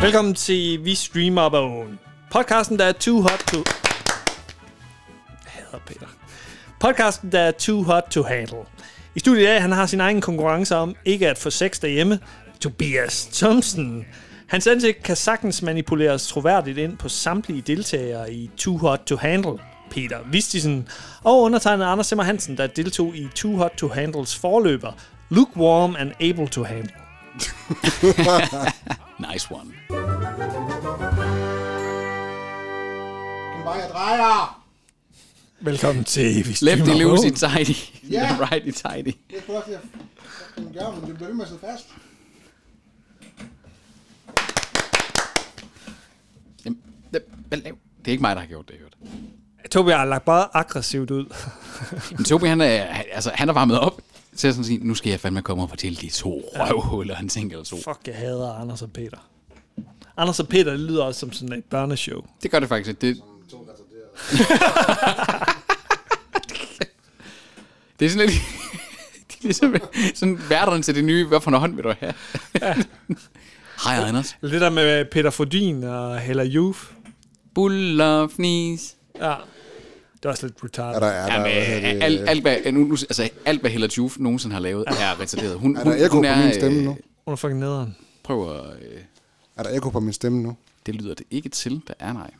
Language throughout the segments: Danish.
Velkommen til Vi Streamer på Åen. Podcasten, der er too hot to... Jeg hader Peter. Podcasten, der er too hot to handle. I studiet i dag, han har sin egen konkurrence om ikke at få sex derhjemme. Tobias Thomsen. Hans ansigt kan sagtens manipuleres troværdigt ind på samtlige deltagere i Too Hot to Handle. Peter Vistisen og undertegnet Anders Simmer Hansen, der deltog i Too Hot to Handles forløber, Lukewarm and Able to Handle. Nice one. Maja Drejer! Velkommen til Vi Lefty Streamer på loosey Åen. tighty. Ja. Yeah. Righty tighty. Det prøver jeg at den gør, men det bliver ved med at sidde fast. Jamen, det, hvad laver- det er ikke mig, der har gjort det, i øvrigt. Tobi har lagt bare aggressivt ud. Men Tobi, han er, han- altså, han er varmet op til at sådan sige, nu skal jeg fandme komme og fortælle de to røvhuller, han tænker eller to. Fuck, jeg hader Anders og Peter. Anders og Peter, det lyder også som sådan et børneshow. Det gør det faktisk. ikke. Det, det er sådan lidt... det er ligesom sådan værterne til det nye, hvad for en hånd vil du have? Hej, Anders. Lidt der med Peter Fodin og Hella Juf. Buller, fnis. Ja. Det er også lidt Er retarded. der, er der, Jamen, hvad hedder det, alt, alt, hvad, nu, nu- altså, alt, hvad Hella Juf nogensinde har lavet, er retarderet. Hun, øh, er der ekko på min stemme nu? Hun er fucking nederen. Prøv at... Øh, Er der ekko på min stemme nu? det lyder det ikke til, der er nej.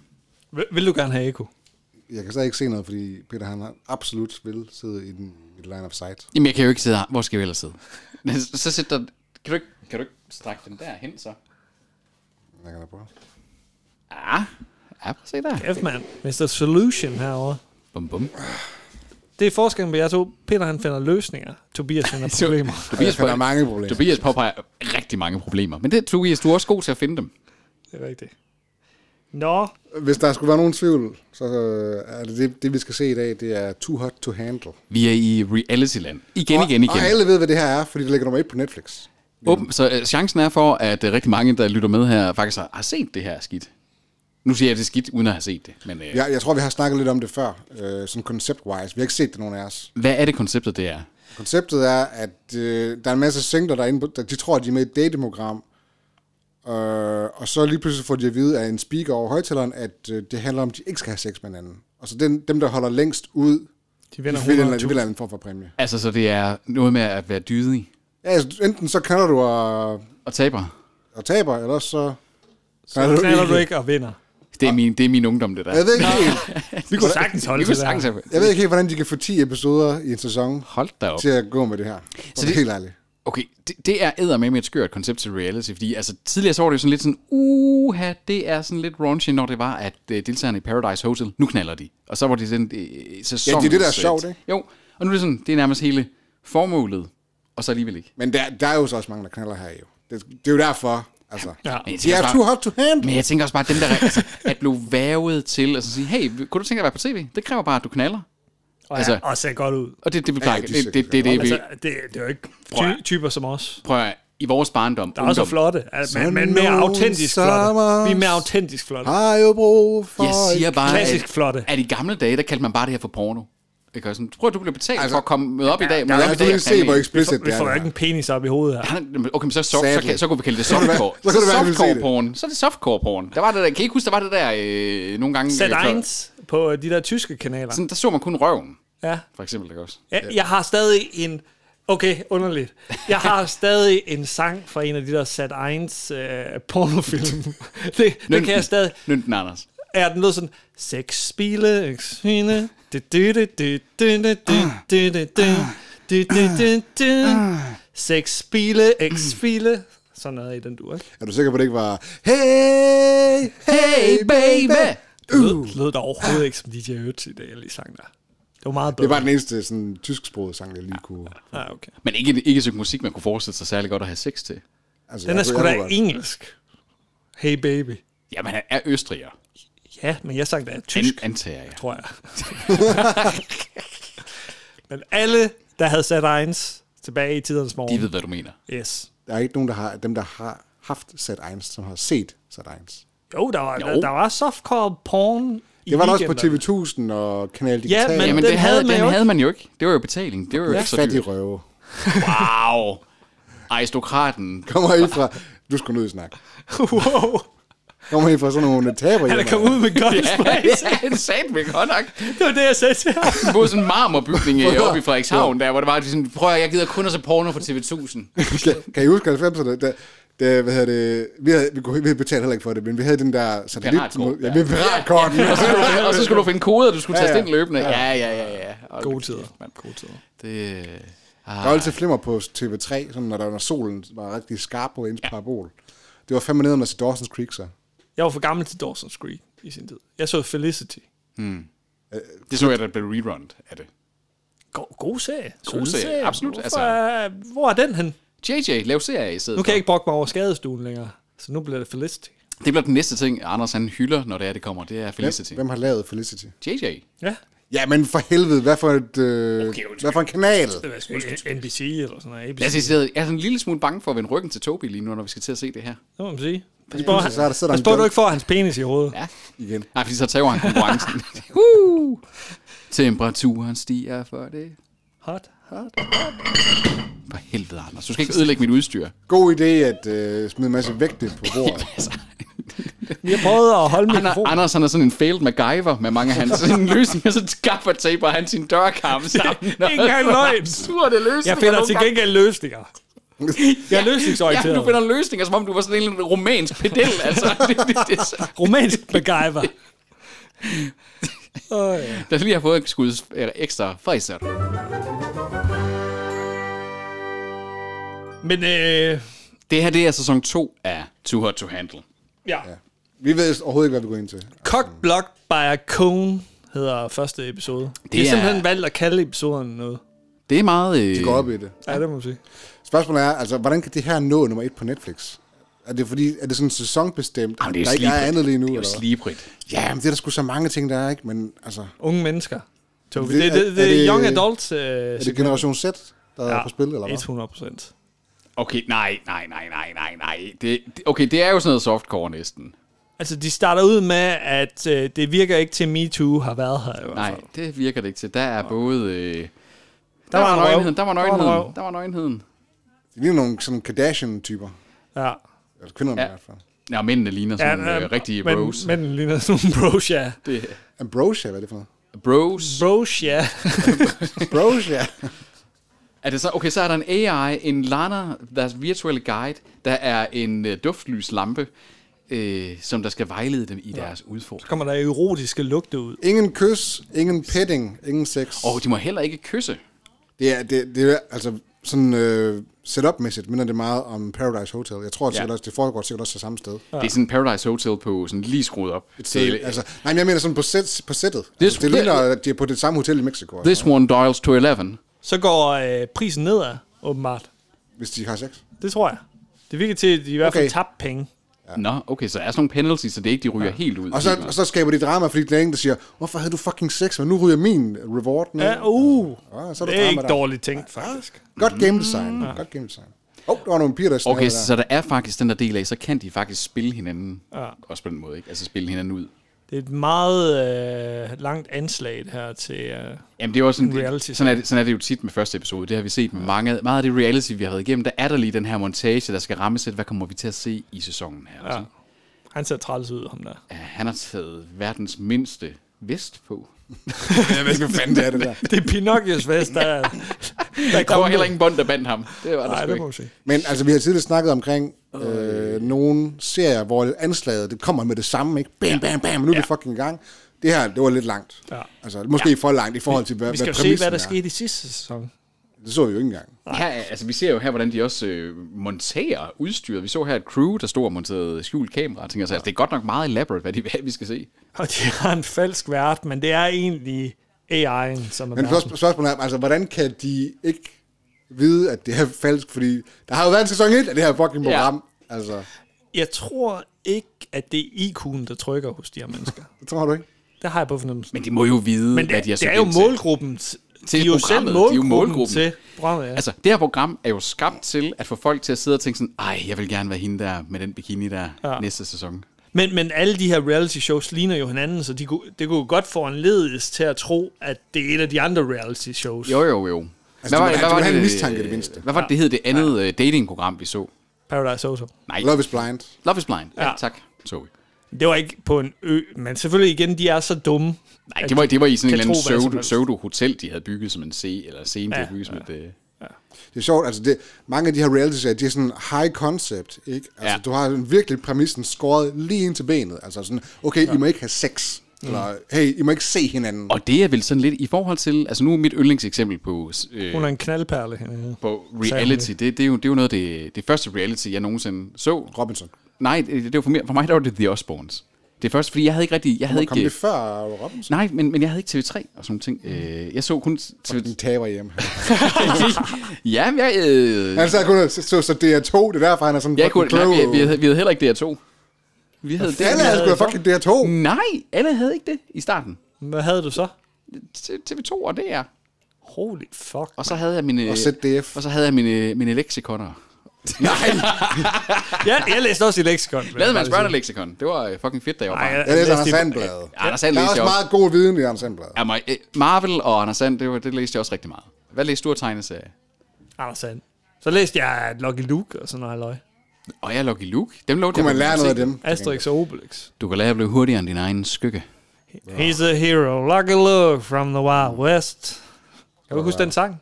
Vil, vil du gerne have Eko? Jeg kan stadig ikke se noget, fordi Peter han har absolut vil sidde i den i line of sight. Jamen, jeg kan jo ikke sidde her. Hvor skal vi ellers sidde? Så sætter... Kan du ikke, kan du ikke strække den der hen, så? Jeg kan da prøve. Ja, Ah, ja prøv at se der. F, mand. Mr. Solution herovre. Bum, bum. Det er forskellen på jer to. Peter, han finder løsninger. Tobias finder problemer. Jeg Tobias, finder på, mange problemer. Tobias påpeger rigtig mange problemer. Men det, Tobias, du er også god til at finde dem. Det er rigtigt. Nå, Hvis der skulle være nogen tvivl, så øh, er det, det det, vi skal se i dag, det er Too Hot to Handle. Vi er i reality-land. Igen, igen, Og, og igen. alle ved, hvad det her er, fordi det ligger nummer et på Netflix. Åben, så øh, chancen er for, at øh, rigtig mange, der lytter med her, faktisk har, har set det her skidt. Nu siger jeg det er skidt, uden at have set det. Men øh, ja. Jeg, jeg tror, vi har snakket lidt om det før, øh, sådan concept-wise. Vi har ikke set det, nogen af os. hvad er det konceptet, det er? Konceptet er, at øh, der er en masse singler, der, er inde på, der de tror, at de er med i et dateprogram. Øh, og så lige pludselig får de at vide af en speaker over højtaleren, at øh, det handler om, at de ikke skal have sex med hinanden. Og så den, dem, der holder længst ud, de de vinder vil, en, de 100.000. vil have en form for præmie. Altså, så det er noget med at være dydig Ja, altså, enten så knaller du og, og taber. og taber, eller så... Så knaller du ikke og vinder. Det er min, det er min ungdom, det der. Jeg ved, ikke helt, Vi kunne sagtens holde til Vi kunne det her. sagtens have... jeg ved ikke helt, hvordan de kan få 10 episoder i en sæson Hold da op. til at gå med det her. Så det er det- helt ærligt. Okay, det, det er eddermame med et skørt koncept til reality, fordi altså, tidligere så var det jo sådan lidt sådan, uha, det er sådan lidt raunchy, når det var, at øh, deltagerne i Paradise Hotel, nu knaller de. Og så var det sådan øh, sæson. Ja, det er det, der er sjovt, ikke? Jo, og nu er det sådan, det er nærmest hele formålet, og så alligevel ikke. Men der, der er jo så også mange, der knaller her jo. Det, det er jo derfor, altså. Ja. Men jeg De tænker, er også too bare, hot to handle. men jeg tænker også bare, at dem der altså, at blive vævet til, altså sige, hey, kunne du tænke dig at være på tv? Det kræver bare, at du knaller. Og Altså- altså, og ser godt ud. Og det, det, vi plejer, de det, ser det, det, det, det, vi Altså, det, det er jo ikke Prøv at- ty- typer som os. prøver at- i vores barndom. Der er også ungdom, flotte, altså, men, men mere Sådan nogle autentisk flotte. Vi er mere sommer- autentisk flotte. Har jo brug for... Jeg siger et- bare, klassisk at, flotte. at i gamle dage, der kaldte man bare det her for porno. Ikke? Og Sådan, prøv at du bliver betalt altså, Altså, for at komme møde op i dag. Ja, Møde op i lad os dag. lige og se, fandme hvor en- Vi explicit får, vi det er. får jo det ikke her. en penis op i hovedet her. Han- Okay, men så, så, så, Sadly. kan, så kunne vi kalde det kunne det være- softcore. så kunne det være, vi ville se det. softcore porn. Så er det softcore porn. Der var det der, kan I ikke huske, der var det der øh, nogle gange... Sæt øh, før- eins på øh, de der tyske kanaler. Sådan, der så man kun røven, Ja. for eksempel. Ikke også? Jeg, jeg har stadig en... Okay, underligt. Jeg har stadig en sang fra en af de der Sat Eins øh, pornofilm. det, det kan jeg stadig... Nynden Anders. Er den lød sådan... Sex, spile, eksine... Ah. Sex, spile, eksfile... Sådan noget i den dur, ikke? Er du sikker på, at det ikke var... Hey, hey, baby! Det lød, det lød da overhovedet ikke som DJ Ötzi, da jeg lige sang der. Det var meget bedre. Det var den eneste sådan, tysksprogede sang, jeg lige kunne... Ah, okay. Men ikke, ikke sådan musik, man kunne forestille sig særlig godt at have sex til. Altså, Den er jeg sgu kunne- jeg da kunne godt. engelsk. Hey baby. Jamen, han er østriger. Ja, men jeg sang da tysk, An, antager jeg. tror jeg. men alle, der havde sat egens tilbage i tidernes morgen. De ved, hvad du mener. Yes. Der er ikke nogen, der har... Dem, der har haft Sat Eins, som har set Sat Eins. Jo, der var, Jo. Der, der var softcore porn i Det var der også på weekenderne. TV1000 og Kanal Digital. men- Jamen, Den det havde havde, man den jo ikke. havde man jo ikke. Det var jo betaling. Det var jo Ja. ekstra Fat i dyrt. røve. Wow. Aristokraten. Kommer I fra... Du skulle ud og snakke. wow. Kommer ind fra sådan nogle taber Han er kommet ud med godt sprays. Ja, han sagde det godt nok. Det var det, jeg sagde til ham. Vi boede i sådan en marmorbygning øh, oppe i Frederikshavn, der, hvor det var sådan, prøv at høre, jeg gider kun at se porno på TV1000. kan, kan I huske 90'erne, da, da, hvad hedder det, vi, havde, vi, kunne, vi betalte heller ikke for det, men vi havde den der satellit, Piratkort, ja, med piratkorten. Og så skulle du, og så skulle du finde koder, du skulle Ja, taste ja. ind løbende. Ja, ja, ja. ja. Hold Gode kæft, tider. mand. Gode tider. Det, øh, Der var altid flimmer på TV3, sådan, når, der, når solen var rigtig skarp på ens ja. parabol. Det var fandme nede under til Dawson's Creek, så. Jeg var for gammel til Dawson's Creek i sin tid. Jeg så Felicity. det så jeg, der blev rerundt af det. God, god serie. God Sød serie, absolut, Hvorfor, altså. altså. Hvor er den hen? JJ, lav serier i stedet Nu kan for. jeg ikke brokke mig over skadestuen længere, så nu bliver det Felicity. Det bliver den næste ting, Anders han hylder, når det er, det kommer. Det er Felicity. Hvem, hvem har lavet Felicity? JJ. Ja. Ja, men for helvede, hvad for, et, øh, okay, hvad for en kanal? Det var sgu ikke NBC eller sådan noget. ABC. Lad os sige, sådan, jeg er sådan en lille smule bange for at vende ryggen til Tobi lige nu, når vi skal til at se det her. Det må man sige. Pas på, pludselig han, så er der- sidder der pas en på, dunk. du ikke får hans penis i hovedet. Ja. Igen. Nej, fordi så tager han konkurrencen. uh! Temperaturen stiger for det. Hot, hot. For helvede, Anders. Du skal ikke ødelægge mit udstyr. God idé at øh, smide en masse vægte på bordet. Altså, Vi har prøvet at holde Anders, mikrofonen. Anders han er sådan en failed MacGyver med mange af hans sådan løsninger, så skaffer taper han sin dørkarm sammen. Ikke engang løgn. Surde løsninger. Jeg finder nogle til gange. gengæld løsninger. Jeg er Ja, løsningsorienteret. du finder løsninger, som om du var sådan en romansk pedel. Altså, det, det, det, er så- Romansk MacGyver. Åh, ja. Lad os lige have fået et skud øh, ekstra fræser. Men øh, Det her, det er sæson 2 af Too Hot To Handle. ja. Vi ved overhovedet ikke, hvad vi går ind til. Cock Block by a Cone hedder første episode. Det er er- simpelthen valgt at kalde episoderne noget. Det er meget... Øh, Vi går op i det. Ja, det må man sige. Spørgsmålet er, altså, hvordan kan det her nå nummer et på Netflix? Er det, fordi, er det sådan sæsonbestemt, Jamen, det er at jo der ikke er slibrigt. andet lige nu? Det er jo eller hvad? slibrigt. Ja, men det er der sgu så mange ting, der er, ikke? Men altså, Unge mennesker. Tobi. Det- Det, det, er- det, det er er det- young adult. Øh, er det Generation Z, der ja. er på spil, eller hvad? 100 procent. Okay, nej, nej, nej, nej, nej, nej. Det, det- okay, det er jo sådan noget softcore næsten. Altså, de starter ud med, at øh, det virker ikke til, at MeToo har været her i hvert fald. Nej, det virker det ikke til. Der er både... Øh, der, var var en røv. nøgenheden, der var Der var en røv. nøgenheden, der var nøgenheden. Det ligner nogle sådan Kardashian-typer. Ja. Eller kvinderne ja. Ja. i hvert fald. Ja, mændene ligner sådan ja, ja, øh, rigtige men, bros. Men ligner sådan nogle bros, ja. det, Ambrosia, hvad er det for noget? bros. Bros, ja. Ambrosia. Er det så, okay, så er der en AI, en Lana, deres virtuelle guide, der er en øh, duftlyslampe, øh, som der skal vejlede dem i ja. deres udfordring. Kommer der erotiske lugte ud. Ingen kys, ingen petting, ingen sex. Og de må heller ikke kysse. Det er, det, det er altså sådan øh, setup-mæssigt minder det meget om Paradise Hotel. Jeg tror, at Ja. ja. det foregår sikkert også det samme sted. Ja. Det er sådan Paradise Hotel på sådan lige skruet op. Det, altså, nej, men jeg mener sådan på, set, på sættet. Det er Altså, det sgu- ligner, at de er på det samme hotel i Mexico, altså, This one dials to 11. Så går øh, prisen nedad, åbenbart. hvis de har sex. Det tror jeg. Det virker til, at de i hvert fald Okay. okay. tabte penge. Ja. Nå, okay, så er sådan nogle penalties, så det er ikke, de ryger ja. helt ud. Og så, helt ud. og så skaber de drama, fordi der er ingen, der siger, hvorfor havde du fucking sex, men nu ryger min reward ned. Ja, uh. Ja, så er Det der er drama ikke der. dårligt tænkt, faktisk. Godt game design. Mm. Ja. Godt game design. Åh, oh, der var nogle piger, der snakkede Okay, der. så der er faktisk den der del af, så kan de faktisk spille hinanden. Ja. Også på den måde, ikke? Altså spille hinanden ud. Det er et meget øh, langt anslag det her til... Øh, Jamen, det er jo også En sådan, reality sådan, er det, sådan er det jo tit med første episode. Det har vi set med mange, meget af det reality, vi har været igennem. Der er der lige den her montage, der skal rammesætte, hvad kommer vi til at se i sæsonen her. Ja. han ser træls ud, ham der. Han har taget verdens mindste vest på. jeg ved ikke, hvad fanden det er, det der. Det er Pinocchios vest, der, der, der, Der var heller ingen bånd, der bandt ham. Det var der Nej, sgu det må man ikke. sige. Men altså, vi har tidligere snakket omkring øh, nogle serier, hvor anslaget, det kommer med det samme, ikke? Bam, bam, bam, nu er ja. vi fucking i gang. Det her, det var lidt langt. Ja. Altså, måske ja. for langt i forhold til, hvad, Vi skal jo hvad se, præmissen hvad der er. skete i sidste sæson. Det så vi jo ikke engang. Her, er- altså, vi ser jo her, hvordan de også øh, monterer udstyret. Vi så her et crew, der stod og monterede skjult kamera. Jeg tænker, altså, det er godt nok meget elaborate, hvad, de, hvad vi skal se. Og de har en falsk vært, men det er egentlig AI'en, som er Men værten. spørg- spørgsmålet er, altså, hvordan kan de ikke vide, at det er falsk? Fordi der har jo været en sæson 1 af det her fucking Ja. program. Ja. Altså, Jeg tror ikke, at det er IQ'en, der trykker hos de her mennesker. det tror du ikke? Det har jeg på fornemmelsen. Men de må jo vide, Men hvad det, de har det søgt er jo ind til. målgruppen. Til de er jo selv programmet. De er jo målgruppen, målgruppen. til programmet, ja. Altså, det her program er jo skabt til at få folk til at sidde og tænke sådan, ej, jeg vil gerne være hende der med den bikini der ja. næste sæson. men, men alle de her reality shows ligner jo hinanden, så de kunne, det kunne jo godt foranledes til at tro, at det er et af de andre reality shows. Jo, jo, jo. Altså, du må- du må have en mistanke, det mindste. Hvad var det, det hed, det andet ja. datingprogram, vi så? Paradise Hotel. Nej, Love is blind. Love is Blind. Ja, Ja. tak. Så vi. Det var ikke på en ø, men selvfølgelig igen, de er så dumme. Nej, det var, det var i sådan en kan eller anden tro hvad som pseudo- helst. pseudo-hotel, de havde bygget som en se, eller scene, de Ja, havde bygget som et... øh, Det er sjovt, altså det, mange af de her reality-serier, de er sådan high concept, ikke? Altså Ja. ja. du har sådan virkelig præmissen skåret lige ind til benet. Altså sådan, okay, ja. I må ikke have sex. Eller, hey, I må ikke se hinanden. Mm. Og det er vel sådan lidt i forhold til... Altså nu er mit yndlingseksempel på... Øh, Hun er en knaldperle. hernede. på Sagde hun reality, det, det, er jo, det er jo noget af det, det første reality, jeg nogensinde så. Robinson. Nej, det, det var for, mig, for mig der var det The Osbournes. Det første, fordi jeg havde ikke rigtig... Jeg havde Kom ikke, øh, det før Robinson? nej, men, men jeg havde ikke TV3 og sådan nogle ting. Øh, jeg så kun... TV... Den taber hjem. ja, men jeg... Øh, Han sad kun og så, så, så DR2, det er derfor, han er sådan jeg kunne, nej, vi, vi, Alle havde, vi havde heller ikke DR2. Vi havde det. havde sgu da fucking DR2. Nej, alle havde ikke det i starten. Hvad havde du så? TV2 og DR. Holy fuck. Og så havde jeg mine... Og ZDF. Og så havde jeg øh, mine, mine leksikoner. Nej, Ja, jeg læste også i leksikon. ligesom- lavede man børneleksikon. Det var øh, fucking fedt, da jeg var barn. Jeg læser Anders Sandblad. Ja, Anders Sand Der er læste jeg også også. meget god viden i Anders Sandblad. Ja, mig, øh, Marvel og Anders Sand, det, var, det læste jeg også rigtig meget. Hvad læste du af tegneserier? Anders Sand. Så læste jeg Lucky Luke og sådan noget halløj. Og jeg er Lucky Luke. Dem lå Kunne man lære noget af dem? Asterix og Obelix. Du kan lære at blive hurtigere end din egen skygge. He's a hero. Lucky Luke from the Wild West. Kan du huske den sang?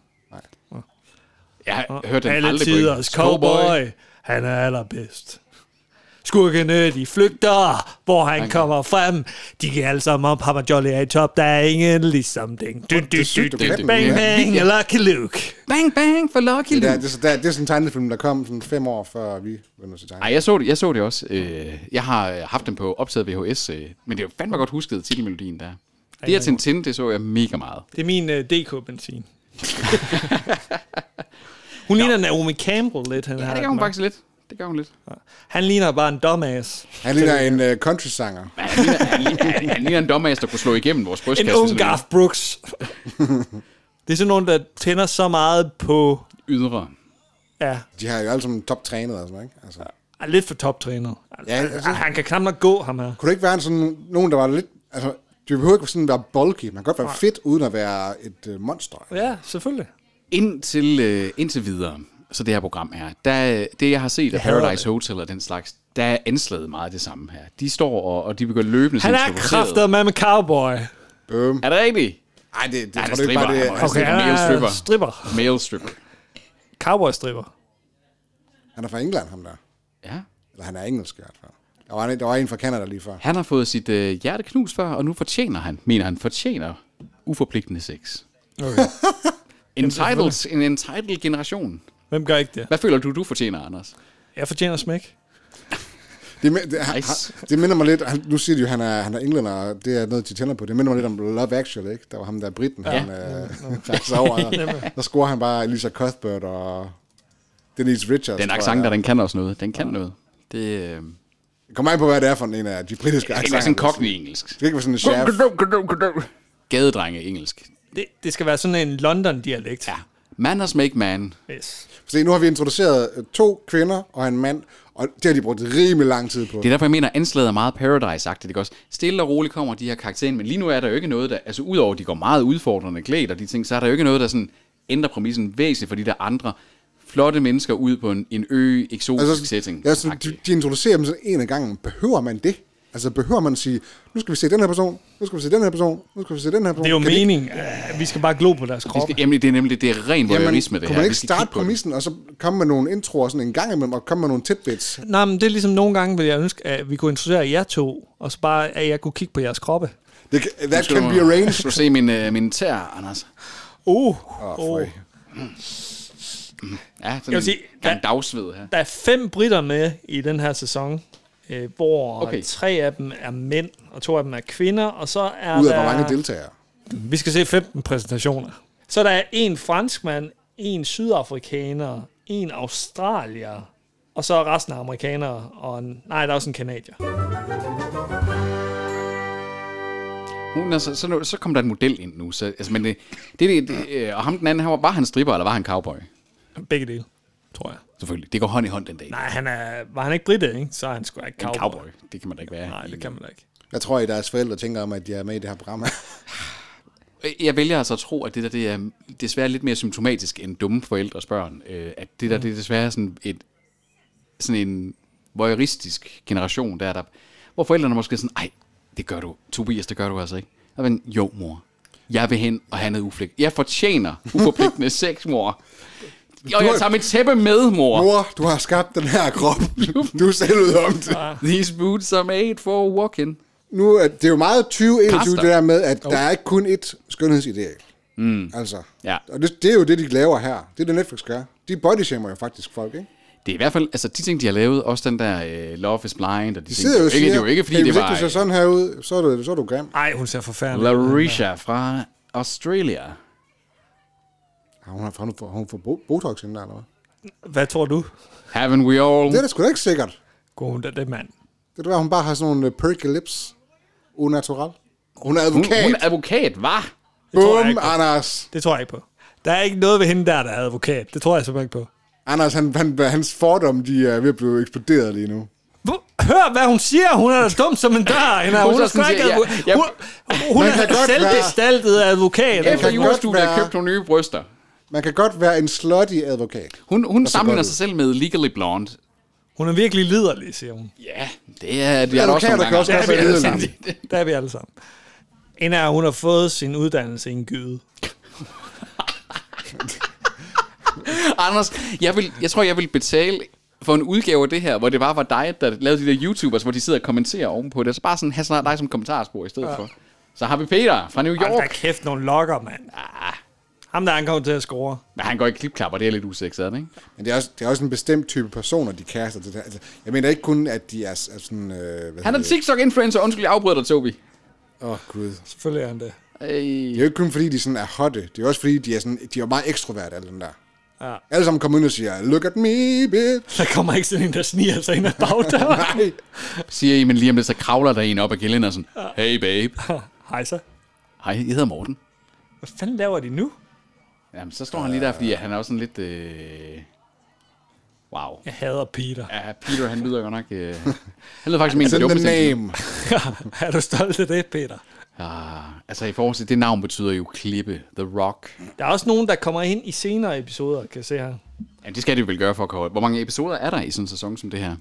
Jeg har hørt den Alle aldrig på engelsk. tiders cowboy, han er allerbedst. Skurkene, de flygter, hvor han kommer frem. De kan alle sammen om Papa Jolly er i top, der er ingen ligesom den. Du, du, du, sygt, du, du kan bang, den. bang, bang, Lucky Luke. Bang, bang for Lucky Det, der, Luke. det, er så- der, det er sådan en tegnefilm, der kom sådan fem år før vi begyndte at se tegne. Ej, jeg så det, jeg så det også. Øh, Jeg har øh, haft dem på optaget VHS, øh, men det er jo fandme godt husket titelmelodien der. Det er Tintin, det så jeg mega meget. Det er min uh, DK-benzin. Hun ligner Naomi Campbell lidt. Han, Ja, har det gør lagt hun mærke. faktisk lidt. Det gør hun lidt. han ligner bare en dumbass. Han ligner en uh, country-sanger. Men Han ligner, han ligner, han- han ligner en dommer, der kunne slå igennem vores brystkasse. En ung hvis han ville. Garth Brooks. det er sådan nogen, der tænder så meget på... Ydre. Ja, De har jo alle sammen toptrænet og sådan, ikke? Altså. er lidt for toptrænet. Ja, altså- Han kan knap nok gå, ham her. Kunne det ikke være en sådan, nogen, der var lidt... Altså, du behøver ikke sådan være bulky. Man kan godt være fedt, uden at være et uh, monster. Ja, selvfølgelig. Indtil, øh, indtil videre, så det her program her, der, øh, det jeg har set af hader Paradise Hotel og den slags, der er anslaget meget det samme her. De står og, og de begynder løbende Han som er improviserede. kræfter med med cowboy. Altså, Bøm. Er det rigtigt? Ej, det, det, Ja, jeg det tror det stripper. ikke bare, det han, er... Okay, okay, han han er male stripper. stripper. Male stripper. Cowboy-stripper. Han er fra England, ham der. Ja. Eller han er engelsk i hvert fald. Der var en, der var en fra Canada lige før. Han har fået sit øh, hjerte knust før, og nu fortjener han, mener han, fortjener uforpligtende sex. Okay. Entitled, en entitled generation. Hvem gør ikke det? Hvad føler du, du fortjener, Anders? Jeg fortjener smæk. Det, mi- det, han, Nice. han- det minder mig lidt... Han, nu siger de jo, han er, han er englænder, og det er noget, de tænder på. Det minder mig lidt om Love Actually, ikke? Der var ham der britten, ja. han øh, rejser over. Der, der scorer han bare Lisa Cuthbert og Denise Richards. Den tror jeg, accent det der, er. den kan også noget. Den kan noget. Det, øh, det Kommer an på, hvad det er for en af de britiske er accenter. sådan en cockney engelsk. Det skal ikke være sådan en chef. Gadedrenge engelsk. Det, det skal være sådan en London-dialekt. Ja. Manners make man. Yes. Se, nu har vi introduceret øh, to kvinder og en mand, og det har de brugt rimelig lang tid på. Det er derfor, jeg mener, at anslaget er meget paradise-agtigt. Ikke også? Stille og roligt kommer de her karakterer ind, men lige nu er der jo ikke noget, der... Altså, udover at de går meget udfordrende klædt og de ting, så er der jo ikke noget, der sådan ændrer præmissen væsentligt for de der andre flotte mennesker ud på en, en ø, eksotisk altså, setting. Ja, sådan, de, de introducerer dem sådan en af gangen. Behøver man det? Altså behøver man at sige, nu skal vi se den her person, nu skal vi se den her person, nu skal vi se den her person. Det er jo Kan de- meningen, at vi skal bare glo på deres de kroppe. skal, jamen, det er nemlig det er ren Jamen, voyeurisme, det kunne her. man Vi ikke skal starte kigge på det. præmissen, og så komme med nogle introer sådan en gang imellem, og komme med nogle tidbits? Nej, men det er ligesom nogle gange, vil jeg ønske, at vi kunne introducere jer to, og så bare, at jeg kunne kigge på jeres kroppe. Det, kan- that Skal can du- be Skal arranged. du se min, øh, min tær, Anders? Uh, Åh, oh, føj. Ja, sådan vil en, sige, der er der- en dagsved her. der er fem britter med i den her sæson, øh, hvor Okay. okay. tre af dem er mænd, og to af dem er kvinder, og så er Ud af der... hvor mange deltagere. Vi skal se 15 præsentationer. Så der er en franskmand, en sydafrikaner, en australier, og så resten af amerikanere, og en, nej, der er også en kanadier. Hun er, så, så, nu- så kom der en model ind nu. Så, altså, men det, det, det, det, øh, og ham den anden, han var, var han stripper, eller var han cowboy? Begge dele, tror jeg. Selvfølgelig. Det går hånd i hånd den dag. Nej, han er, var han ikke britte, ikke? så er han sgu ikke En cowboy. cowboy. Det kan man da ikke være. Nej, det kan man da ikke. Jeg tror, I deres forældre tænker om, at de er med i det her program. Jeg vælger altså at tro, at det der det er desværre lidt mere symptomatisk end dumme forældres børn. Øh, at det der det er desværre sådan, et, sådan en voyeuristisk generation, der, er der hvor forældrene måske er sådan, ej, det gør du, Tobias, det gør du altså ikke. Og man, jo mor, jeg vil hen og have noget uflægt. Jeg fortjener uforpligtende sex, mor. Og jeg tager mit tæppe med, mor. Mor, du har skabt den her krop. du er selv ud om det. These boots are made for walking. Nu er det er jo meget 2021, Kaster. det der med, at der er ikke kun ét skønhedsideal. Mm. Altså. Ja. Og det, det, er jo det, de laver her. Det er det, Netflix gør. De bodyshamer jo faktisk folk, ikke? Det er i hvert fald, altså de ting, de har lavet, også den der øh, Love is Blind, og de, De ting, sidder jo og ikke, siger, det er jo ikke, fordi hey, det hvis ikke var du ser sådan her ud, så er du, så er du grim. Ej, hun ser forfærdelig. ud. øh, Larisha fra Australia. Har Ah, hun, har hun, har hun fået bo- Botox inden der, eller hvad? Hvad tror du? Haven't we Det er all? da sgu da ikke sikkert. Går hun der, det mand? Det er da, hun bare har sådan nogle øh, perky lips. Unatural. Hun er Hun, advokat. hun er advokat, var. tror jeg Bum, ikke. Anders. Det tror jeg ikke på. Der er ikke noget ved hende der, der er advokat. Det tror jeg simpelthen ikke på. Anders, han, han, hans fordomme, de er ved at blive eksploderet lige nu. Hvor- Hør, hvad hun siger. Hun er da dum som en dør. Hende, Hun hun, hun så er sådan skrækket. siger, Hun, ja, hun, hun Man er kan godt være- selvbestaltet advokat. Efter kan julestudiet godt har være- købt nogle nye bryster. Man kan godt være en slutty advokat. Hun, hun sammenligner godt sig selv med Legally Blonde. Hun er virkelig liderlig, siger hun. Ja, det er det er der også Advokater nogle kan også gange. godt Ja, være vi er lidt sammen. Der er vi alle sammen. En af hun har fået sin uddannelse i en gyde. Anders, jeg, vil, jeg tror, jeg vil betale for en udgave af det her, hvor det bare var dig, der lavede de der YouTubers, hvor de sidder og kommenterer ovenpå det. Så bare sådan have sådan dig som kommentarspor i stedet ja. for. Så har vi Peter fra New Hold da York. kæft, nogle lokker, mand. Ham der, han kommer til at score. Men han går i klipklapper, det er lidt usexet, ikke? Men det er, også, det er også en bestemt type personer, de kaster til det her. Altså, jeg mener ikke kun, at de er, s- er sådan... Øh, hvad Han er hedder det? TikTok-influencer. Undskyld, jeg afbryder dig, Tobi. Åh, oh, gud. Selvfølgelig er han det. Det Ej. er jo ikke kun, fordi de sådan er hotte. Det er jo også, fordi de er, sådan, de er jo meget ekstroverte, alle dem der. Ja. Alle sammen kommer ind og siger, look at me, bitch. Altså, Der kommer ikke sådan en, der sniger sig ind ad bagdøren. Nej. Siger I, men lige om lidt, så kravler der en op ad gælden og sådan, hey babe, Hej så. hej, jeg hedder Morten. Hvad fanden laver de nu? Jamen, så står han lige der, fordi han er også sådan lidt, øh... wow. Jeg hader Peter. Ja, Peter, han lyder godt nok... Øh, han lyder faktisk mindre Send the dumt. end- name. er du stolt af det, Peter? Ah, altså i forhold til, det navn betyder jo klippe, The Rock. Der er også nogen, der kommer ind i senere episoder, kan jeg se her. Jamen, det skal de vel gøre for at komme Hvor mange episoder er der i sådan en sæson som det her?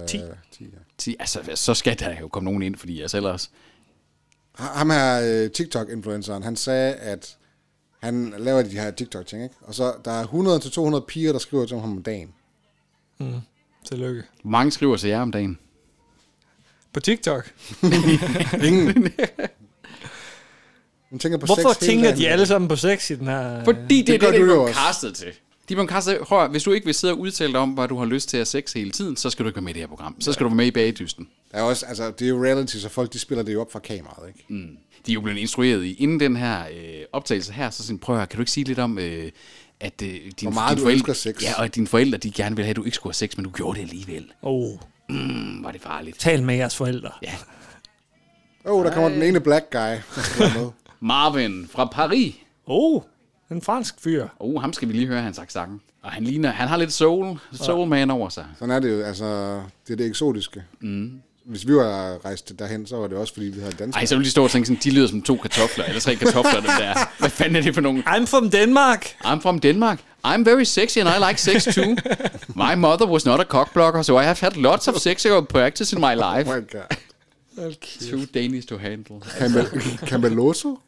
Øh, 10. 10 ja. Ti- Altså, så skal der jo komme nogen ind, fordi jeg selv også... Ha- Ham her, øh, TikTok-influenceren, han sagde, at han laver de her TikTok-ting, ikke? Og så der er 100-200 piger, der skriver til ham om dagen. Tillykke. Hvor mange skriver til jer om dagen? På TikTok. Hun tænker på Hvorfor sex hele tænker dagen. de alle sammen på sex i den her... Fordi det, Det det er gør det, de du jo blev også. castet til. De blev castet, prøv, at- hvis du ikke vil sidde og udtale dig om, hvad du har lyst til at sex hele tiden, så skal du ikke være med i det her program. Så skal du være med i bagedysten. Der er også, altså, det er jo reality, så folk de spiller det jo op fra kameraet, ikke? Mm. De er jo blevet instrueret i, inden den her øh, optagelse her, så sådan, prøv at høre, kan du ikke sige lidt om, øh, at øh, din, Hvor meget din du elsker sex. Ja, og at dine forældre, de gerne ville have, at du ikke skulle have sex, men du gjorde det alligevel. Oh, Mm, var det farligt. tal med jeres forældre. Ja. Åh, oh, der kommer den ene black guy, der skal være med. Marvin fra Paris. Oh, en fransk fyr. Oh, ham skal vi lige høre, han sagt sangen. Og han ligner, han har lidt soul, soul man over sig. Sådan er det jo, altså, det er det eksotiske. Mm. Hvis vi var rejst derhen, så var det også, fordi vi havde danskere. Ej, så vil de stå og tænke sådan, de lyder som to kartofler, eller tre kartofler, dem der. Hvad fanden er det for nogen? I'm from Denmark. I'm from Denmark. I'm very sexy and I like sex too. My mother was not a cockblocker, so I have had lots of sexual practice in my life. Oh my god. Too Danish to handle. Camel- Cameloso?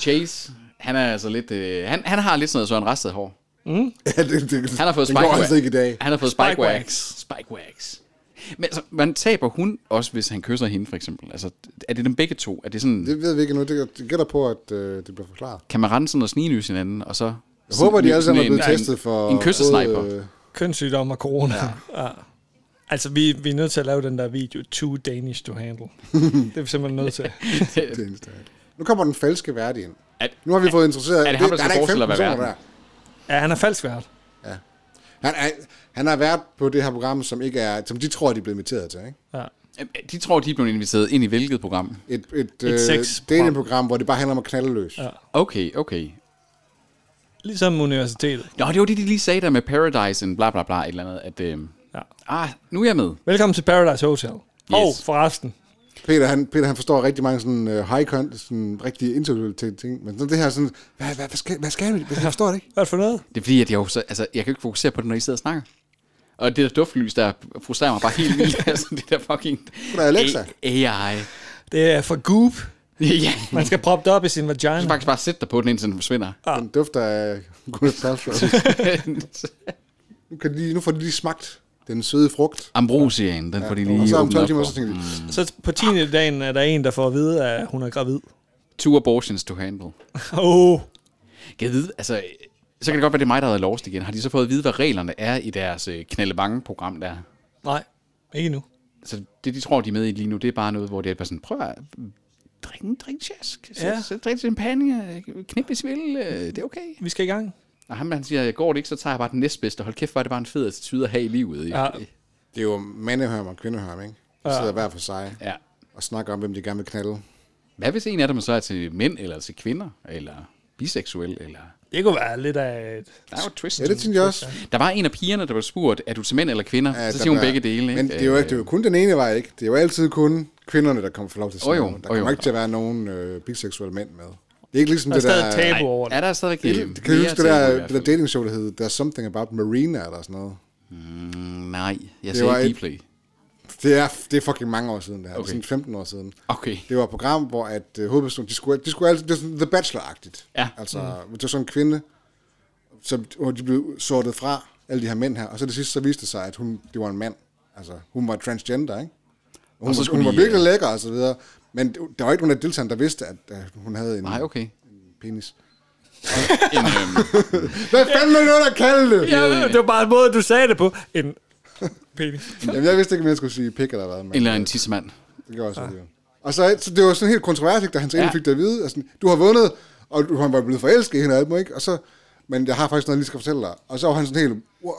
Chase, han er altså lidt... Øh, han, han har lidt sådan noget Søren Rasted hår. ja, det, det, Han har fået den spike går altså ikke i dag. Han har fået spike, Spike wax. wax. Spike wax. Men altså, man taber hun også, hvis han kysser hende, for eksempel? Altså, er det dem begge to? Er det sådan... Det ved vi ikke nu. Det, det gætter på, at øh, det bliver forklaret. Kan man rende sådan og snigenys hinanden, og så... Jeg håber, de alle sammen er sådan en- blevet testet for... En kyssesniper. både, øh, Kønssygdom og corona. Ja. Ja. Altså, vi, vi er nødt til at lave den der video, too Danish to handle. det er vi simpelthen nødt til. det eneste. Nu kommer den falske værdi ind. At- Nu har vi fået introduceret... er det ham, der der skal er ikke forestille 15 at være personer der. værten? Ja, han er falsk vært. Han, er, han har været på det her program, som, ikke er, som de tror, de er blevet inviteret til. Ikke? Ja. De tror, de er blevet inviteret ind i hvilket program? Et, et, sexprogram. datingprogram, hvor det bare handler om at knalde løs. Ja. Okay, okay. Ligesom universitetet. Nå, det var det, de lige sagde der med Paradise and bla bla bla, et eller andet, at... Øh, Ja. ah, nu er jeg med. Velkommen til Paradise Hotel. Yes. Og forresten, Peter, han, Peter, han forstår rigtig mange sådan, uh, high content, sådan rigtige intellektuelle ting- ting. Men sådan det her sådan, hvad, hvad, hvad skal, hvad skal vi? Jeg forstår det ikke. hvad er det for noget? Det er fordi, at jeg, jo så, altså, jeg kan jo ikke fokusere på det, når I sidder og snakker. Og det der duftlys, der frustrerer mig bare helt vildt. altså, det der fucking... er Alexa. A- AI. Det er for goop. ja, Man skal proppe det op i sin du skal vagina. faktisk bare sætte dig på den, indtil den forsvinder. Den dufter af Gwyneth Paltrow. nu, kan de, lige- nu får de lige smagt den søde frugt. Ambrosian, den får de lige Og så om åbnet 12 op timer, for. så tænker de, "Hmm, Så på 10. dagen er der en, der får at vide, at hun er gravid. Two abortions to handle. Åh, oh, Kan jeg vide, altså, så kan det godt være, det er mig, der havde lost igen. Har de så fået at vide, hvad reglerne er i deres øh, knaldebange-program der? nej. Ikke nu. Så det, de tror, de er med i lige nu, det er bare noget, hvor det er bare sådan, prøv at drik en drink tjask. Ja. Ja. Så, drik til en pande, øh, knip hvis I vil, øh, det er okay. Vi skal i gang. Og ham, han siger, går det ikke, så tager jeg bare den næstbedste. Hold kæft, hvor er det bare en fed attitude at have i livet. ikke? Ja. det er jo mandehørm og kvindehørm, ikke? De sidder hver for sig ja. og snakker om, hvem de gerne vil knalde. Hvad hvis en af dem så er til mænd, eller til kvinder, eller biseksuel, eller... Det kunne være lidt af et... Der er jo et twist. Ja, det tænkte jeg også. Der var en af pigerne, der blev spurgt, er du til mænd eller kvinder? Ja, Ja, så der siger hun bliver- begge dele. Ikke? Øh, Men det er, jo, ikke- det er jo kun den ene vej, ikke? Det er jo altid kun kvinderne, der kommer for lov til at sige Åh jo, noget. Der åh jo. kommer ikke til at være nogen øh, biseksuelle mænd med. Det er ikke ligesom Der er det stadig der... et Nej, tabu over det. er der stadigvæk Det, kan du huske det der, det der dating-show, der hed There's Something About Marina eller sådan noget? Mm, nej, jeg Det sagde var ikke et- Dplay. Det er, det er fucking mange år siden, det her. Okay. Det Okay. er sådan 15 år siden. Okay. Det var et program, hvor at, øh, hovedpersonen, de skulle, de skulle altid, det var sådan The Bachelor-agtigt. Ja. Altså, mm. det var sådan en kvinde, som, hvor de blev sortet fra, alle de her mænd her. Og så det sidste, så viste det sig, at hun, det var en mand. Altså, hun var transgender, ikke? Og hun, Og så og skulle hun var de, virkelig øh, lækker og så videre. Men der var ikke nogen af deltagerne, der vidste, at, at hun havde en Nej, okay. penis. En, øhm, Hvad fanden er det, der kalder det? Ja, Øh. det var bare en måde, du sagde det på. En penis. Jamen, jeg vidste ikke, om jeg skulle sige pik eller hvad. Men... en eller anden tissemand. Det gjorde jeg så alligevel. Og så, så det var sådan helt kontroversielt, da han så ja. fik det at vide. Altså, du har vundet, og du han var blevet forelsket i hende og alt muligt, ikke? Og så, men jeg har faktisk noget, jeg lige skal fortælle dig. Og så var han sådan helt... "Wow,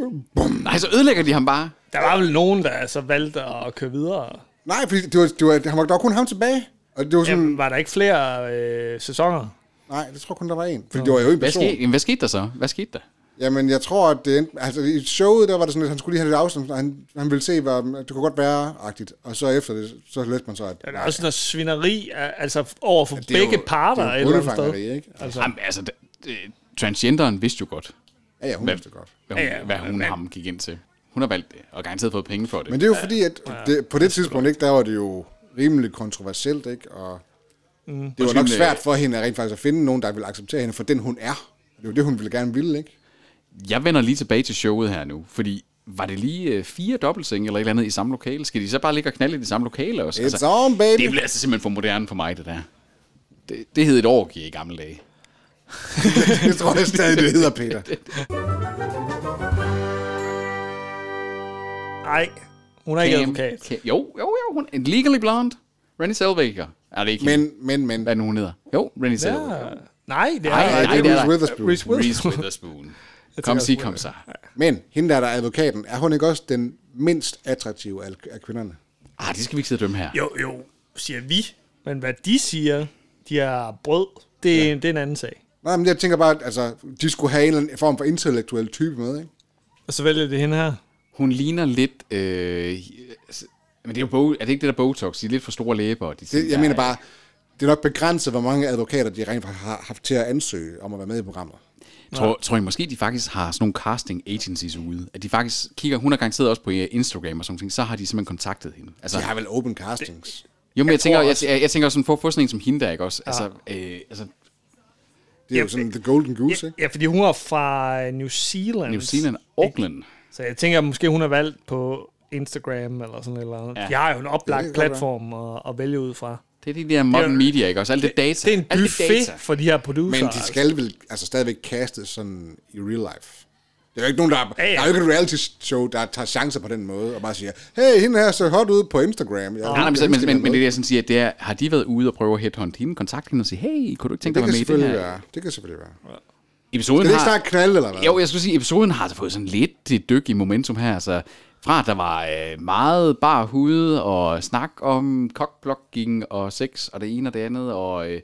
wow, Bum. Nej, så ødelægger de ham bare. Der var vel nogen, der så valgte at køre videre. Nej, fordi det var, det var, han var, der var kun ham tilbage. Og det var sådan... Jamen, var der ikke flere øh, sæsoner? Nej, det tror jeg kun, der var en. Fordi det var jo en Hvad person. skete, jamen, hvad skete der så? Hvad skete der? Jamen, jeg tror, at det endte, altså, i showet, der var det sådan, at han skulle lige have lidt afstand, og han, han ville se, hvad det kunne godt være-agtigt. Og så efter det, så læste man så, at... Der er også noget svineri al- altså over for det er jo- begge parter. det er et jo eller andet bondefangeri, sted. ikke? Altså, Jamen, altså, det- det- transgenderen vidste jo godt, Ja, ja, hun vidste det godt. hvad hun, Ja, ja, hvad hun ham gik ind til. Hun har valgt det, og garanteret fået penge for det. Men det er jo fordi, at det, på det tidspunkt, ikke, der var det jo rimelig kontroversielt, ikke? Og mm. det var nok Undskyld, svært for hende at rent faktisk at finde nogen, der ville acceptere hende for den, hun er. Det er jo det, hun ville gerne ville, ikke? Jeg vender lige tilbage til showet her nu, fordi var det lige øh, fire dobbeltsenge eller et eller andet i samme lokale? Skal de så bare ligge og knalde i det samme lokale også? It's on, baby! det blev altså simpelthen for moderne for mig, det der. Det, det hed et orgie i gamle dage. det tror jeg stadig, det hedder, Peter. nej, hun er ikke Cam- advokat. Cam- Jo, jo, jo. Hun, en legally blonde. Renée Zellweger. Er det ikke hende? Men, men, men. Hvad nu hun hedder? Jo, Renée Zellweger. Ja. Nej, det er Ej, Ej, nej, det det er er Reese der. Witherspoon. Reese Reese Witherspoon. kom sig, kom sig. Men hende der, der er advokaten, er hun ikke også den mindst attraktive af, af kvinderne? Ah, det skal vi ikke sidde og dømme her. Jo, jo, siger vi. Men hvad de siger, de er brød, det, ja. det er en anden sag. Nej, men jeg tænker bare, at altså, de skulle have en eller anden form for intellektuel type med, ikke? Og så vælger de hende her. Hun ligner lidt... Øh, s- men det er, jo bo, er det ikke det der Botox? De er lidt for store læber. og De Det, jeg mener bare, det er nok begrænset, hvor mange advokater, de rent faktisk har haft til at ansøge om at være med i programmet. Tror, tror jeg måske, de faktisk har sådan nogle casting agencies ude? At de faktisk kigger... Hun har garanteret også på øh, Instagram og sådan noget. Så har de simpelthen kontaktet hende. Altså, De har vel open castings. jo, men jeg, tænker, tror jeg, jeg, jeg tænker sådan, for at få sådan en som hende der, ikke også? Altså, øh, altså Det er jo Ja, sådan The Golden Goose, ikke? Ja, fordi hun er fra New Zealand. New Zealand, Auckland. Så jeg tænker, at måske hun er valgt på Instagram eller sådan et eller andet. Ja. Ja. De har jo en oplagt Det kan godt platform at, at vælge ud fra. Det er de der modern Det er- media, ikke også? Alt det data. Det er en Alt buffet data. for de her producer. Men de skal vel altså stadigvæk kaste sådan i real life. Der er jo ikke nogen, der, er, Ja, ja. der er jo ikke et reality show, der tager chancer på den måde, og bare siger, hey, hende her så hot ud på Instagram. Jeg Nej, nej, men, så- men, men, men det er det, jeg sådan siger, det er, har de været ude og prøve at headhunte hende, kontakte hende og sige, hey, kunne du ikke tænke dig det at være kan med i selvfølgelig det her? være. Det kan selvfølgelig være. Skal Episoden det ikke har, snart knalde, eller hvad? jo, jeg skulle sige, episoden har altså fået sådan lidt det dyk i momentum her, altså fra at der var øh, meget bar hud og snak om cockblocking og sex og det ene og det andet, og øh,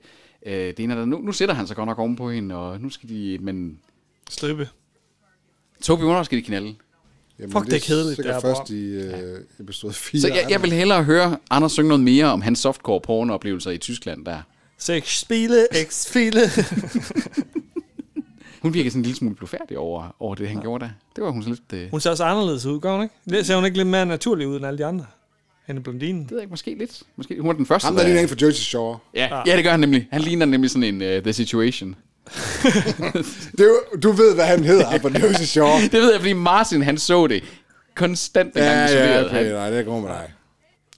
øh, det ene og det andet. Nu, nu sætter han sig godt nok oven på hende, og nu skal de, men Slippe. Tobi, hvornår skal de knalde? Jamen, Fuck, det er kedeligt, sikkert det her først i øh, episode 4. Så jeg, jeg vil hellere høre Anders synge noget mere om hans softcore pornooplevelser i Tyskland der. Sex spille, x spille. Hun virker sådan en lille smule blufærdig over, over det, han ja. gjorde der. Det var hun sådan lidt... Øh, Hun ser også anderledes ud, gør hun ikke? Det ser hun ikke lidt mere naturlig ud end alle de andre? Hende blondinen. det ved jeg ikke, måske lidt. Måske, hun er den første. Ham der der- ligner en fra Jersey Shore. ja, ja, det gør han nemlig. Han ligner nemlig sådan en uh, The Situation. Det er jo, du ved, hvad han hedder, ham fra Jersey Shore. Det ved jeg, fordi Martin, han så det konstant, Ja, dengang ja, ja, isoleret. Ja, okay, han, nej, det går med dig.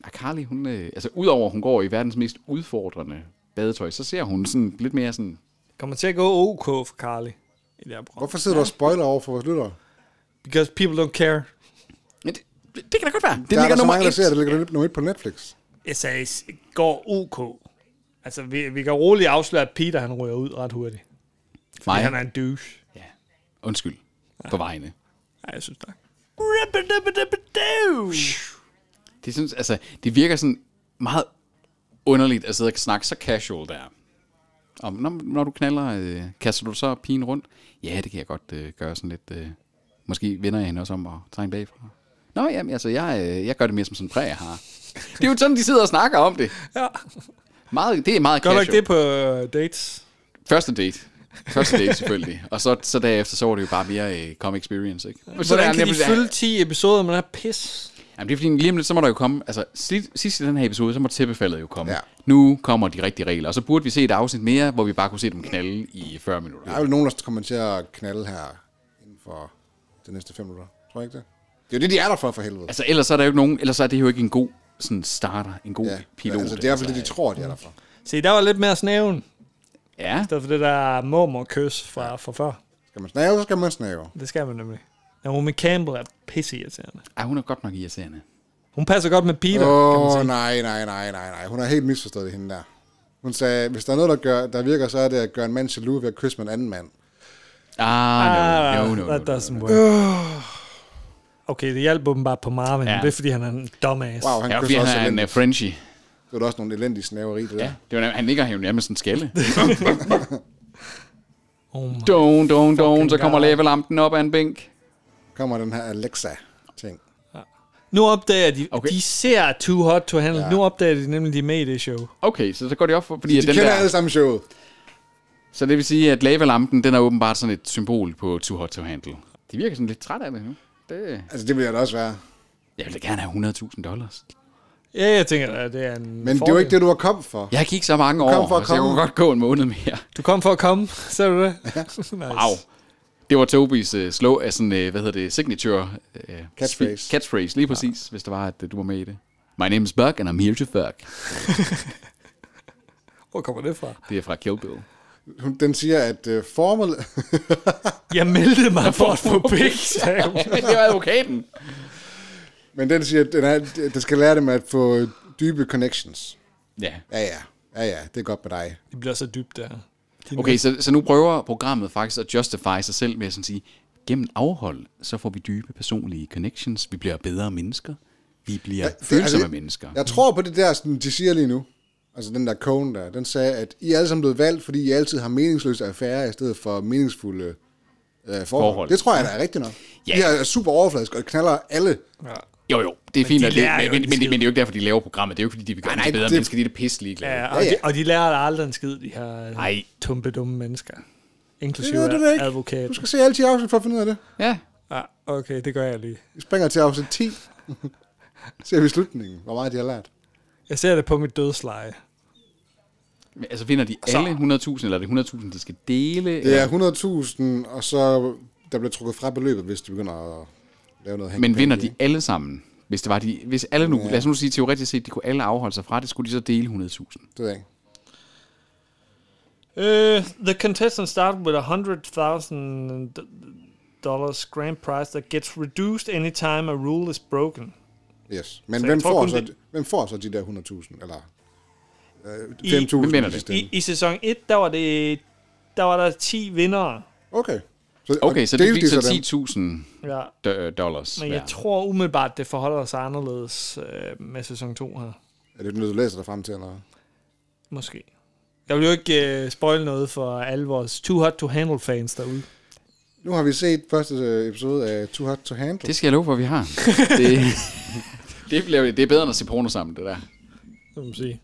og Carly, hun, øh, altså udover hun går i verdens mest udfordrende badetøj, så ser hun sådan lidt mere sådan... Kommer til at gå OK for Carly i det her program. Hvorfor sidder du og spoiler over for vores lyttere? Because people don't care. Men det, det, det kan da godt være. Det Der er ligger der så nummer mange, der et. ser, at det ligger nummer et på Netflix. Jeg sagde, s- går OK. Altså, vi, vi kan roligt afsløre, at Peter han ryger ud ret hurtigt. Fordi Mig? han er en douche. Ja. Undskyld. På vejene. Nej, jeg synes tak. Det, synes, altså, det virker sådan meget underligt at sidde og snakke så casual der. Om, når, når du knaller, øh, kaster du så pigen rundt? Ja, det kan jeg godt øh, gøre sådan lidt. Øh, måske vender jeg hende også om og tager hende bagfra. Nå, jamen, altså, jeg, øh, jeg gør det mere som sådan en præg, jeg har. Det er jo sådan, de sidder og snakker om det. Ja. Meget, det er meget Gør du ikke casual. det på øh, dates? Første date. Første date selvfølgelig. Og så, så derefter, så var det jo bare mere øh, come experience, ikke? Så der er Hvordan kan de nemlig- fylde 10 episoder med den her pis? Jamen, det er fordi, lige om lidt, så må der jo komme... Altså, sidst, sidst i den her episode, så må tæppefaldet jo komme. Ja. Ja. Nu kommer de rigtige regler, og så burde vi se et afsnit mere, hvor vi bare kunne se dem knalde i 40 minutter. Der er vel nogen, der kommer til at knalde her inden for de næste fem minutter. Tror jeg ikke det? Det er jo det, de er der for, for helvede. Altså, ellers så er der jo ikke nogen... Ellers så er det jo ikke en god sådan starter, en god ja. pilot. altså, det er i hvert fald det, de tror, de er der for. Se, der var lidt mere snæven, i Ja, stedet for det der mormor-kys fra, fra før. Skal man snave, så skal man snave. Det skal man nemlig. Naomi Campbell er pisseirriterende. Ej, hun er godt nok irriterende. Hun passer godt med Peter, kan man Åh, sige. oh, nej, nej, nej, nej, nej. Hun har helt misforstået det, hende der. Hun sagde, hvis der er noget, der, gør, der virker, så er det at gøre en mand jaloux ved at kysse med en anden mand. Ah, no, no, no, no, that no. doesn't work. Okay, det hjalp åbenbart på Marvin. Ja. Ja. Det er, fordi han er en dumbass. Wow, han Ja, ja, fordi kysser også han er en elendigt. uh, Frenchie. Det var da også nogle elendige snaveri, det der. Ja, Ja. det var, nærmest- han ligger her jo nærmest en skalle. Oh my. Don, don, don, så Fucking kommer god. læbelampen op af en bænk. Kommer den her Alexa-ting. Nu opdager de, Okay. okay. de ser Too Hot to Handle. Ja. Nu opdager de nemlig, de er med i det show. Okay, så så går det op for... Fordi at De den kender der, alle sammen showet. Så det vil sige, at lavalampen, den er åbenbart sådan et symbol på Too Hot to Handle. De virker sådan lidt træt af det nu. Det... Altså, det vil jeg da også være. Jeg vil da gerne have 100.000 dollars. Ja, jeg tænker, at det er en Men det er jo ikke det, du var kommet for. Jeg gik så mange år, kom for at så jeg komme. kunne godt gå en måned mere. Du kom for at komme, ser du det? Ja. nice. Au. Det var Tobis uh, slow, af sådan, uh, hvad hedder det, signature... Uh, Catchphrase. catchphrase, lige præcis, ja. hvis det var, at uh, du var med i det. My name is Buck, and I'm here to fuck. Hvor kommer det fra? Det er fra Kill Bill. Hun- Den siger, at uh, formal... Jeg meldte mig for at få pik, sagde hun. Men det var advokaten. Men den siger, at den, er, den skal lære dem at få dybe connections. Ja. Ja, ja. Ja, ja. Det er godt med dig. Det bliver så dybt, der. Okay, så, så nu prøver programmet faktisk at justify sig selv med at sådan sige, gennem afhold, så får vi dybe personlige connections, vi bliver bedre mennesker, vi bliver ja, følsomme altså, jeg- mennesker. Ja. Jeg tror på det der, sådan, de siger lige nu. Altså den der kone der, den sagde, at I er alle sammen blevet valgt, fordi I altid har meningsløse affærer i stedet for meningsfulde øh, Forhold. forhold. forhold. Det tror jeg, der er rigtigt nok. Ja. Ja. De er super overfladiske og knaller alle. Ja. Jo, jo, det er fint, de at det, lærer men, jo men, en men, det, skid. men det er jo ikke derfor, de laver programmet. Det er jo ikke, fordi de vil gøre nej, nej, nej, bedre det- det... mennesker, de er det pisselig glade. Ja, Ja, ja. og, Ja, ja. De, og de lærer aldrig en skid, de her Ej. Ej. tumpe dumme mennesker. Det Inklusive ved du da ikke. advokat. Du skal se alle 10 afsnit for at finde ud af det. ja. Ja, okay, det gør jeg lige. Vi springer til afsnit 10. ser vi slutningen, hvor meget de har lært. Jeg ser det på mit dødsleje. Men Altså finder de alle 100.000, eller er det 100.000, de skal dele? Det eller- er 100.000, og så der bliver trukket fra beløbet, hvis de begynder at lave noget Men vinder hanky-panky, de alle sammen? Hvis, det var de, hvis alle nu, ja. lad os nu sige teoretisk set, de kunne alle afholde sig fra det, skulle de så dele 100.000. ikke? Det ved jeg ikke. Uh, the contestants start with a hundred thousand dollars grand prize that gets reduced anytime a rule is broken. Yes. Men Så hvem jeg tror får, kun, så, det- hvem får så de der 100.000? Eller øh, 5.000? Hvem vinder det? i sidste I, ende? I sæson 1, der var det der var der 10 vindere. Okay. Så, og Okay, så det delte fik så dem? 10.000 Ja. do- dollars. Men hver. jeg tror umiddelbart, det forholder sig anderledes øh, med sæson 2 her. Er det noget, du læser dig frem til? Eller? Måske. Jeg vil jo ikke øh, spoil noget for alle vores Too Hot To Handle fans derude. Nu har vi set første øh, episode af Too Hot to Handle. Det skal jeg love for, at vi har. Det, det, bliver, det er bedre end at se porno sammen, det der. Det må man sige.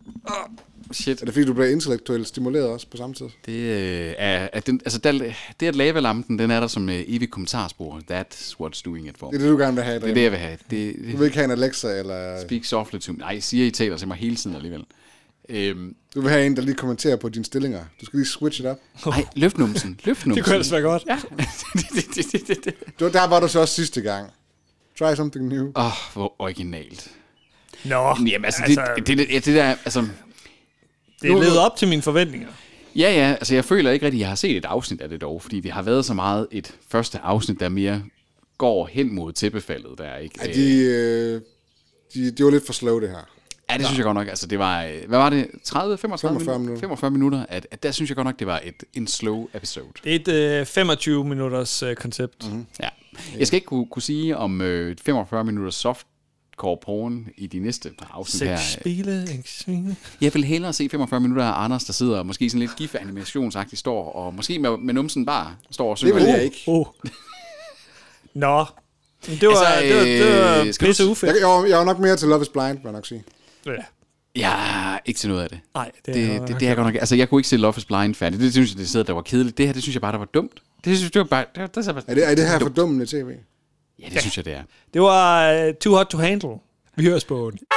Shit. Er det fordi, du bliver intellektuelt stimuleret også på samme tid? Det øh, er, at den, altså, der, det at lavalampen, den er der som øh, evig kommentarspor. That's what's doing it for. Det Det, er det, du gerne vil have det er derhjemme. det, jeg vil have. Det, Du det, vil ikke have en Alexa, eller speak softly to me. Nej, Siri taler til mig hele tiden alligevel. Øhm, du vil have en, der lige kommenterer på dine stillinger. Du skal lige switch it up. nej, løft numsen. Løft numsen. Det kunne ellers være godt. Ja. det, det, det, det, det. Det var, der var du så også sidste gang. Try something new. Åh, hvor originalt. Nå, Jamen, altså, altså det, det, det, ja, det der, altså, det er levet op til mine forventninger. Ja, ja, altså jeg føler ikke rigtig, at jeg har set et afsnit af det dog, fordi det har været så meget et første afsnit, der mere går hen mod tæppefaldet der, ikke? Ja, Øh, de, øh, de, de var lidt for slow, det her. ja, det synes jeg godt nok, altså det var, øh, hvad var det, 30, 35 45 minutter, minutter. 45 minutter, at, at der synes jeg godt nok, det var et, en slow episode. Det er et øh, 25 minutters øh, koncept. Mm-hmm. Ja. Jeg skal ikke kunne, kunne sige om øh, 45 minutter softcore porn i de næste par afsnit Sex, her. spille, ikke svine. Jeg vil hellere se 45 minutter af Anders, der sidder og måske sådan lidt gif-animationsagtigt står, og måske med, med numsen bare står og synger. vil jeg ikke. Oh. Nå. Men Det var, Altså, altså, det var, det var, øh, det var skal du- pisse Jeg, ufedt. jeg, var, jeg var nok mere til Love is Blind, må jeg nok sige. Ja. Ja, ikke til noget af det. Nej, det, det, var- det, det er jeg godt nok. Altså, jeg kunne ikke se Love is Blind færdig. Det synes jeg, det sidder, der var kedeligt. Det her, det synes jeg bare, der var dumt. Det synes jeg det var bare... Det, var- det, var- Er det, er det her fordummende tv? Ja, det synes jeg, det er. øh, det var uh, too hot to handle. Vi høres på den.